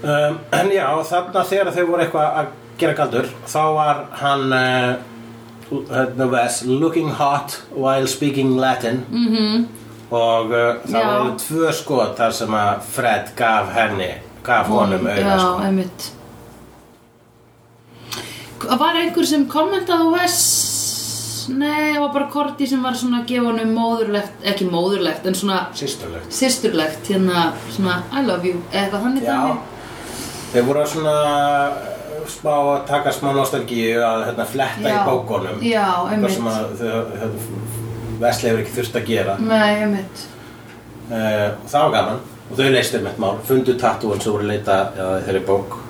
um, En já, þarna þegar þau voru eitthvað að gera galdur Þá var hann uh, hérna Wes, Looking hot while speaking Latin -hmm. Og uh, það Mhm. Já. voru tvö skot þar sem að Fred gaf henni Gaf honum já, auða sko einmitt Var einhver sem kommentaði á Wes? Nei, það var bara Korti sem var svona að gefa honum móðurlegt Ekki móðurlegt, en svona Sýsturlegt systurlegt Hérna, svona, I love you eða Eitthvað þannig Já, dæmi. þeir voru svona uh, spá að taka smá nostalgíu að hérna, fletta Já. í bókunum Já, Eitthvað einmitt. sem að þau- þau- Wesley hefur ekki þurft að gera Nei, einmitt uh, og það var gaman og þau leistir með mál, fundu tattúan sem voru að leita ja, þeirri bók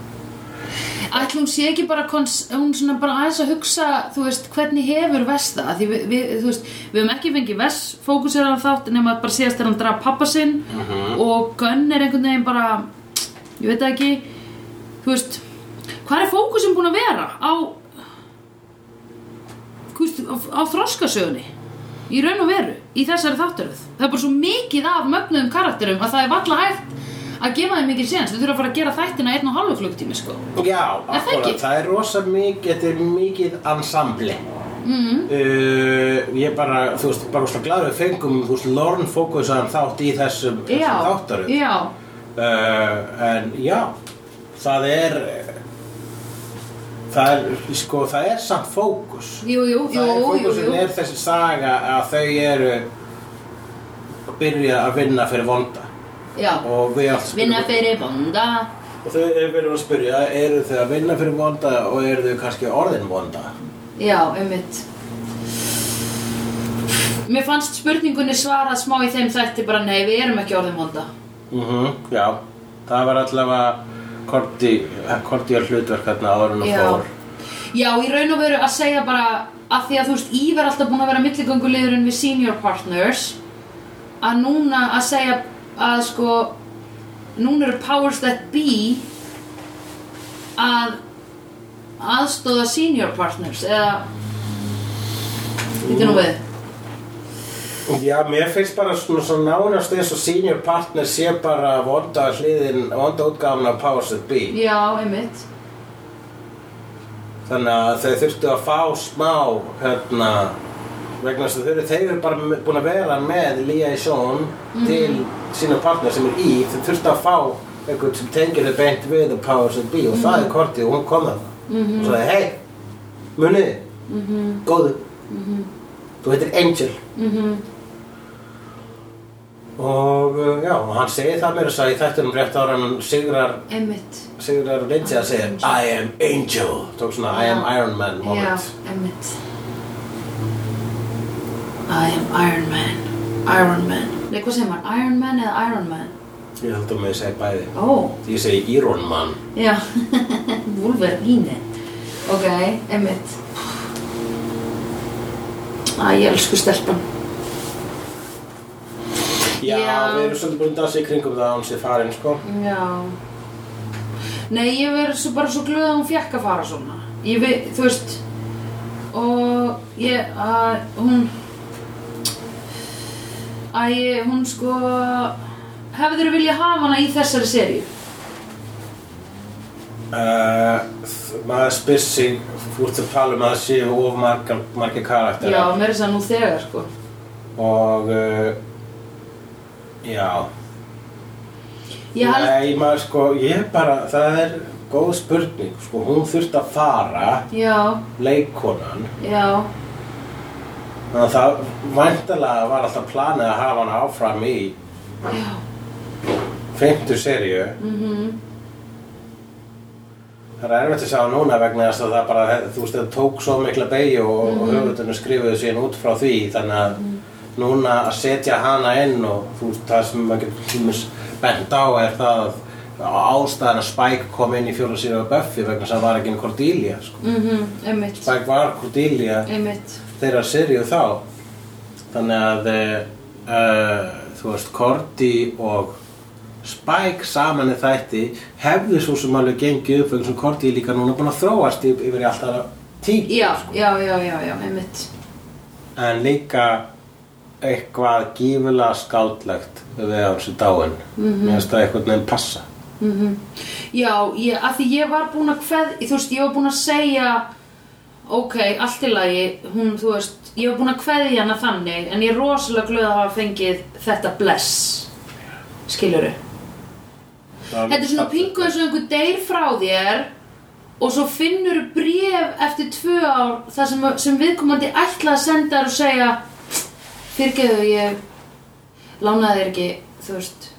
Ætli hún sé ekki bara kons, hún svona bara aðeins að hugsa þú veist, hvernig hefur Vest það Af því við, við, þú veist, við höfum ekki fengið Vest fókusir hann þátt nema bara síðast þegar hann draf pappa sinn og Gunn er einhvern veginn bara ég veit það ekki þú veist, hvað er fókusin búin að vera á þú veist, á, á þroskasögunni í raun og veru, í þessari þátturöð það er bara svo mikið af mögnuðum karakterum að það er valla hægt að gefa þeim mikið séns, þau þurfa að fara að gera þættina einn og halvu flugtími sko Já, það akkúrat, ekki? það er rosa mikið, þetta er mikið ansambli mm. Mhm. uh, Ég bara, þú veist, bara rosa glaður við fengum, þú veist, Lorne fókusaðan þátt í þessum, já, þessum þáttarum já, uh, En já, það er, það er, sko, það er samt fókus jú, jú, Það er jú, jú, fókusin jú. er þessi saga að þau eru að byrja að vinna fyrir vonda já, og við allt vinna fyrir bonda um- og þau eru verið að spyrja eru þau að vinna fyrir vonda og eru þau kannski orðin vonda já, einmitt mér fannst spurningunni svarað smá í þeim þætti bara nei, við erum ekki orðin bonda Mhm, já. Það var allavega Korti, Korti er hlutverk þarna áður en hún Já. fór. Já, í raun og veru að segja bara að því að þú veist, Ívar er alltaf búin að vera milligönguliðurinn við senior partners að núna að segja að sko núna eru powers that be að aðstóða senior partners eða Þetta nú við Já, mér finnst bara svona svona nánast eins og senior partner sé bara vonda hliðin, vonda útgáfuna á Powers That Be. Já, einmitt Þannig að þau þurftu að fá smá, hérna, vegna þess að þau eru, þeir eru bara me- búin að vera með liaison til sína partner sem er í, þau þurftu að fá einhvern sem tengir þau beint við The Powers That Be og það er Korti og hún kom þarna. Og sagði, hei, munið, mm -hmm. góðu, þú heitir Angel. Og uh, já, og hann segir það mér þess að í þættunum rétt ára hann sigrar Einmitt Sigurður Lindsay að segja I am Angel tók svona I am Já. Iron Man Já, moment einmitt I am Iron Man Iron Man Nei, hvað segir maður? Iron Man eða Iron Man? ég held að mig segja bæði Ó, oh, ég segi Iron Man já Wolverine Ok, einmitt Æ, ég elsku stelpan já, Já. við erum svolítið búin að dansa í kringum það að hún sé farin sko Já Nei, ég verð svo bara svo glöð að hún fekk að fara svona Ég veit, þú veist Og ég, að hún Að ég, hún sko Hefðir viljað hafa hana í þessari seríu? uh, maður spyr sig úr til að tala um að það séu of margar, margar karakter Já, mér er þess að nú þegar sko og uh, já Ég held, nei, maður sko ég bara, það er góð spurning sko, hún þurfti að fara já, leikonan já Þannig að það væntalega var alltaf planið að hafa hann áfram í Já, fymtu seríu. Mm Það er erfitt að sjá núna vegna þess að það bara, þú veist, það tók svo mikla beigju og mm höfundunum skrifuðu síðan út frá því þannig að núna að setja hana inn og þú veist, það sem maður getur tímis bent á er það að ástæðan að Spike kom inn í fjóra séríu á Buffy vegna þess að það var ekki inn Cordelia, sko. mhm, einmitt Spike var Cordelia Einmitt, þeirra serju þá þannig að uh, þú veist, Korti og Spike saman í þætti hefðu svo sem alveg gengið upp vegna sem Korti er líka núna búin að þróast yf- yfir í allt aðra tík já, já, já, já, já, einmitt en líka eitthvað gífulega skáldlegt við hans í dáin Mhm. mér finnst það einhvern veginn passa Já, ég, að því ég var búin að kveð, þú veist, ég var búin að segja, ok, allt í lagi, hún, þú veist, ég var búin að kveðja hana þannig, en ég er rosalega glöð að hafa fengið þetta bless, skiljuru. Þetta er svona pingu eins og einhver deyr frá þér og svo finnur bréf eftir tvö ár þar sem, sem viðkomandi ætla að senda þér og segja, fyrirgeðu, ég lánaði þér ekki, þú veist,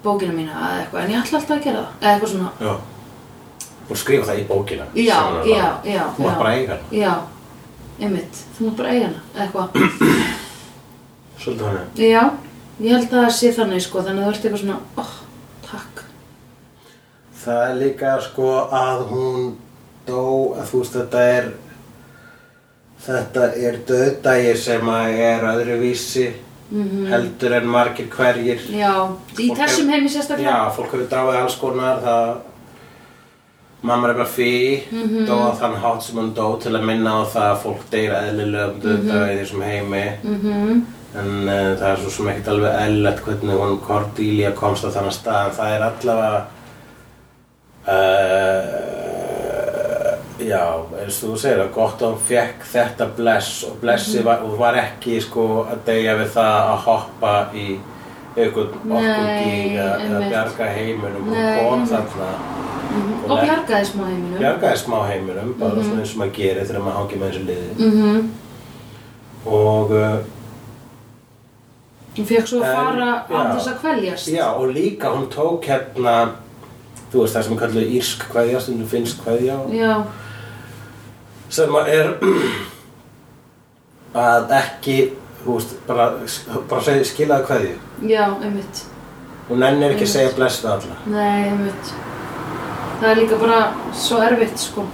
bókina mína eða eitthvað, en ég ætla alltaf að gera það, eða eitthvað svona. já. og skrifa það í bókina sem hún já, er að já, laga. já þú já. var bara að eiga hana já, einmitt, þú mátt bara eiga hana eða eitthvað, svolítið hann já ég held að það sé þannig sko, þannig að þú ert eitthvað svona oh, takk Það er líka sko að hún dó, að þú veist þetta er þetta er döðdægi sem að er öðruvísi heldur en margir hverjir já, í Fólk þessum hefur- heimi sérstaklega Já, fólk hefur dáið alls konar það Mamma Rebba Fee mm -hmm. dó á þann hátt sem hún dó til að minna á það að fólk deyr eðlilegum döðdægi í þessum heimi Mhm, en uh, það er svo sem ekkert alveg eðlilegt hvernig hún Cordelia komst á þannig stað en það er allavega uh, já, eins og þú segir að gott að hún fekk þetta bless og blessi var, og var ekki sko að deyja við það að hoppa í einhvern Nei, okkur eða einmitt. bjarga heiminum Nei, hún kom einmitt. þarna mhm. Og og nei. bjargaði smá heiminum bjargaði smá heiminum bara svona eins og maður gerir þegar maður hangi með þessu liði mhm, og uh, hún fekk svo að En, fara já. án þess að kveljast Já, og líka hún tók hérna, þú veist það sem kallar írsk kveðja, stundum finnsk kveðja já, sem að er að ekki, þú veist, bara, bara segja skilaðu kveðju já, einmitt Hún nennir Mm. ekki að segja bless við alla. Nei, ég veit. Það er líka bara svo erfitt, sko.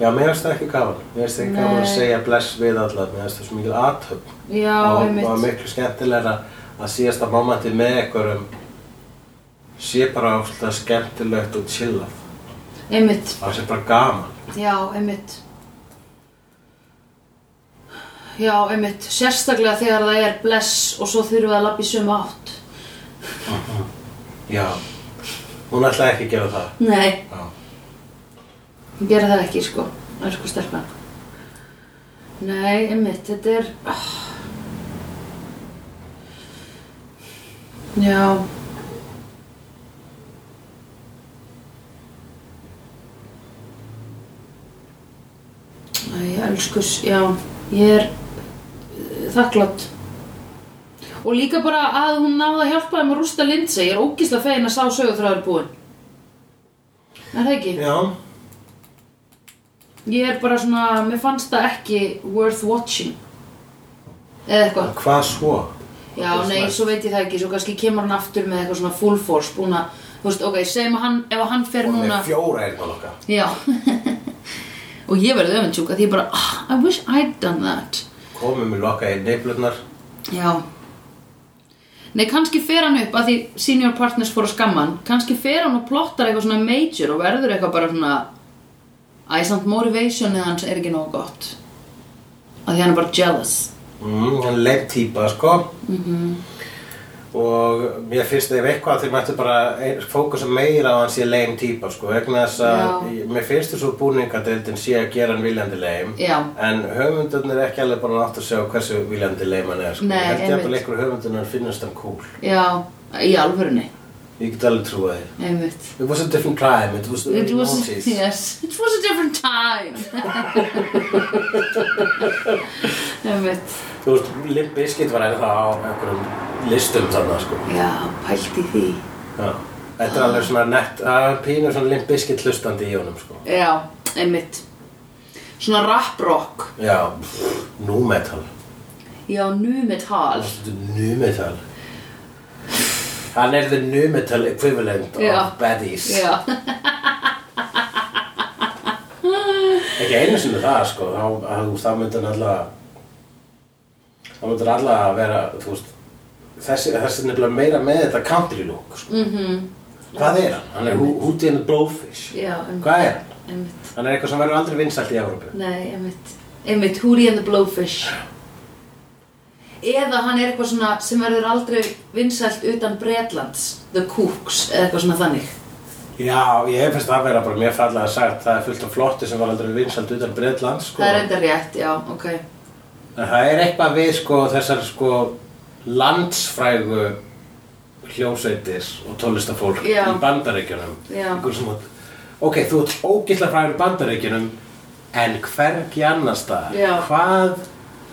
Já, mér finnst það ekki gaman. Mér finnst ekki gaman að Nei. segja bless við alla. Mér finnst það svo mikil aðtöfn. Já, ég og, og veit. miklu skemmtilegra að síðasta momentið með einhverjum sé bara óslega skemmtilegt og chillað. Ég veit. Það sé bara gaman. Já, ég veit. Já, ég veit. Sérstaklega þegar það er bless og svo þurfum við að lappa í sömu átt. Já. Hún ætlaði ekki að gera það. Nei, Já. ég gera það ekki, sko. Það er sko stelpan. Nei, ég veit. Þetta er... ah. Já. Æ, elskus, já, ég er eh, þakklátt. Og líka bara að hún náði að hjálpa þeim að rústa Lindsay. Ég er ógislega fegin að sá sögurþráður búinn. Er það ekki? Já. Ég er bara svona, mér fannst það ekki worth watching. Eða eitthvað. Hvað svo? Já, nei, svo veit ég það ekki. Svo kannski kemur hann aftur með eitthvað svona full force búin að, þú veist, ok, segjum að hann, ef að hann fer Hún núna... er fjóra hérna, einn og nokka. Já. og ég verði öfundsjúk að ég bara, ah, I wish I'd done that. Komum við lokka í nefnlunar. Já Nei, kannski fer hann upp að því senior partners fóru að skamma hann kannski fer hann og plottar eitthvað svona major og verður eitthvað bara svona Æ, samt motivationið hans er ekki nógu gott að því hann er bara jealous Mm, hann leið típa, sko. Mm Mhm. -hmm. Og mér finnst ef eitthvað þeir mættu bara fókusa meira á að hann sé leim típa, sko. Vegna þess að Já. mér finnst þessu búningadeildin sé að gera hann viljandi leim. Já. En höfundunir er ekki alveg búin að átt að segja hversu viljandi leim hann er, sko. Nei, Ég held ég einmitt. að leikur höfundunir finnast hann cool. Já, í alvörunni Ég get alveg trúa því. einmitt It was a different time, it was the It early was, 90s. yes, it was a different time Einmitt Þú veist, Limp Bizkit var ennþá á einhverjum listum þarna, sko. Já, pælt í því Já. Þetta er alveg svona nett, að pínur svona Limp Bizkit hlustandi í honum, sko. Já, einmitt Svona rap rock Já, nu metal. Já, nu metal Þetta er nu metal. Hann er the nu metal equivalent Já. of baddies. Já Ekki einu sinni það, sko. Þá, að þú veist, þá myndir hann alltaf... Þá myndir hann alltaf að vera, þú veist... Þessi, þessi er nefnilega meira með þetta country look, sko. Mm Mhm. -hmm. Hvað er hann? Hann er Hoo- Hootie and the Blowfish. Já, einmitt. Hvað er hann? Einmitt, Hann er eitthvað sem verður aldrei vinsælt í Evrópu. nei, einmitt Einmitt, Hootie and the Blowfish Eða hann er eitthvað svona sem verður aldrei vinsælt utan Bretlands The Cooks, eða eitthvað svona þannig Já, ég finnst það vera bara mjög fallega sagt. Það er fullt af flotti sem var aldrei vinsælt utan Bretland, sko. Það er enda rétt, já, ok En það er eitthvað við sko þessar sko landsfrægu hljómsveitir og tólistafólk Já. í bandaríkjunum. Já. Einhver sem að, ok, þú ert ógislega frægur í bandaríkjunum, en hvergi annars það? Já. Hvað,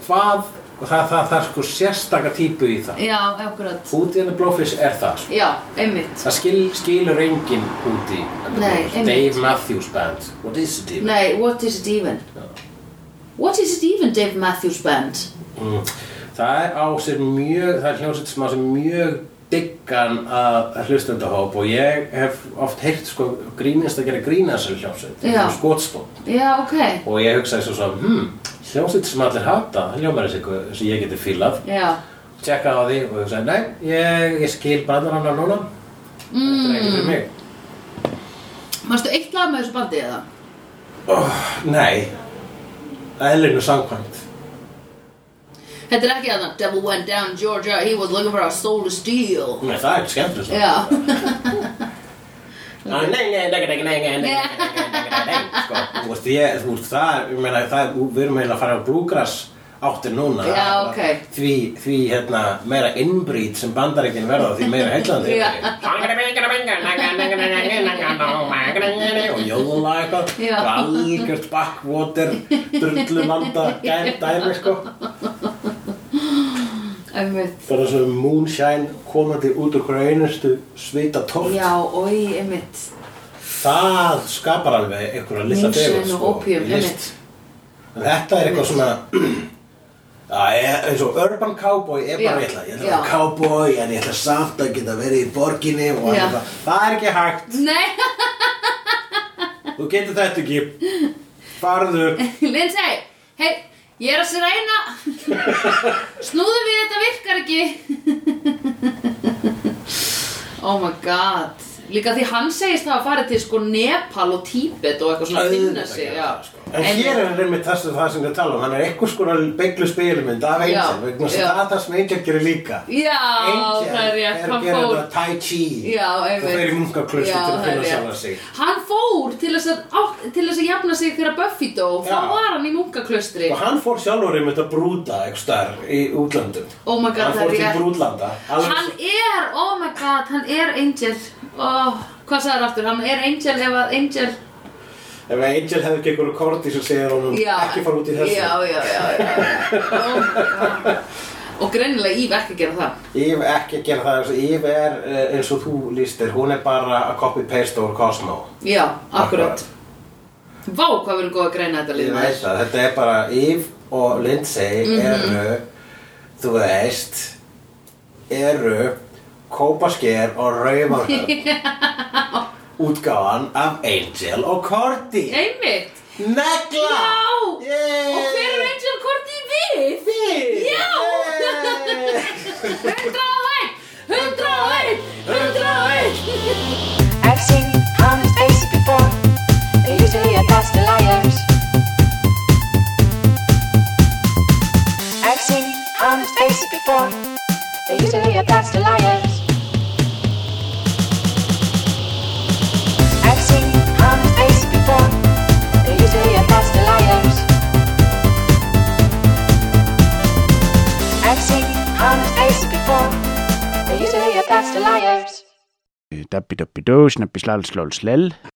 hvað, og það, það, það er sko sérstaka típu í það. Já, akkurat Húti en Blófish er það sko. Já, einmitt Það skil, skilur enginn húti en Nei, Blófish. einmitt. Dave Matthews Band. What is it? even? Nei, what is it even? What is it even, Dave Matthews Band? Mm. Það er á sér mjög, það er hljómsveit sem á sér mjög diggan að hlustendahóp og ég hef oft heyrt sko grínist að gera grína þessari hljómsveit, Já. skotspót Já, ok og ég hugsaði svo svo, hmm, hljómsveit sem allir hata, það hljómar þessi eitthvað sem ég geti fílað Já, tjekkaði á því og hugsaði, nei, ég, ég skil brandarannar núna þetta er Mm. ekki fyrir mig manstu eitt lag með þessu bandi eða? oh, Nei, eðlinu samkvæmt Þetta er ekki að það Devil went down Georgia, he was looking for a soul to steal Nei, það er ekki skemmt þess Já, Nei, nei, Ah, nei, nei, nei, nei, nei, nei, nei, nei, nei, nei, nei, sko. Þú veist, ég, þú veist, það, er- ég meina, það, er- við erum eiginlega að fara á bluegrass áttir núna. Já, ok. Því, því, hérna, meira innbrýt sem bandaríkin verða, því meira heillandi. Já. Og jóðla eitthvað. Já. Og algjört backwater, drullumanda, gæm, dæmi, sko. einmitt Bara svona moonshine komandi út úr hverju einustu svita tótt. Já, oi, einmitt Það skapar alveg einhverja sko, lilla Moonshine degund og opium, í list. En Þetta er eitthvað svona Það er e, eins og urban cowboy er bara Já. vitla. Ég ætla að vera Já. cowboy en ég ætla samt að geta verið í borginni og Já. eitthvað. Það er ekki hægt. Nei, Þú getur þetta ekki. Farðu. Lindsay, hei, ég er að sér reyna Snúðu við þetta virkar ekki Oh my god Líka því hann segist það að fara til sko Nepal og Tíbet og eitthvað svona að finna Auðvitað sig gerir já. það, sko. En hér er einmitt þess að það sem við tala um, hann er einhvers konar beiglu spilmynd af Já, Angel, vegna þess já. að það er það sem Angel gerir líka. Já, Angel það er rétt, er að hann gera fór þetta tai chi Já, og einmitt fer í munkaklaustu Já, til að það er finna rétt. sjálfa sig. Hann fór til þess að, á- til þess að jafna sig þegar Buffy dó Þá Já. var hann í munkaklaustri Og Sko, hann fór sjálfur einmitt að brúta einhvers staðar í útlöndum. Oh my god, það er hann fór til rétt. brútlanda. alveg Hann eins og- er, oh my god, hann er Angel oh, Hvað sagði aftur? Hann er Angel ef að Angel Ef Angel hefði ekki einhverju korti sem segir honum ekki fara út í þessu. Já, já, já, já, já. Oh my god. Og greinilega Íve ekki að gera það Yves ekki að gera það, Yves er eh, eins og þú lístir, hún er bara að copy-paste over Cosmo. Já, akkurat Vá, hvað verður góð að greina þetta Ég lið veit það, þetta er bara Yves og Lindsay Mhm. eru, þú veist, eru kópasker og raumarhörn útgáfan af Angel og Cordy. Einmitt Negla! Já! Yay! Og hver er Angel Korti við? Við! Já! Yay! 101! 101! 101! I've seen honest faces before. They usually are past the liars. I've seen honest faces before. They usually are past the liars. I've seen honest faces before. They usually are past the liars. I've seen honest faces before. They usually are past the liars. Dabbi dabbi dó, snabbi slal slól slell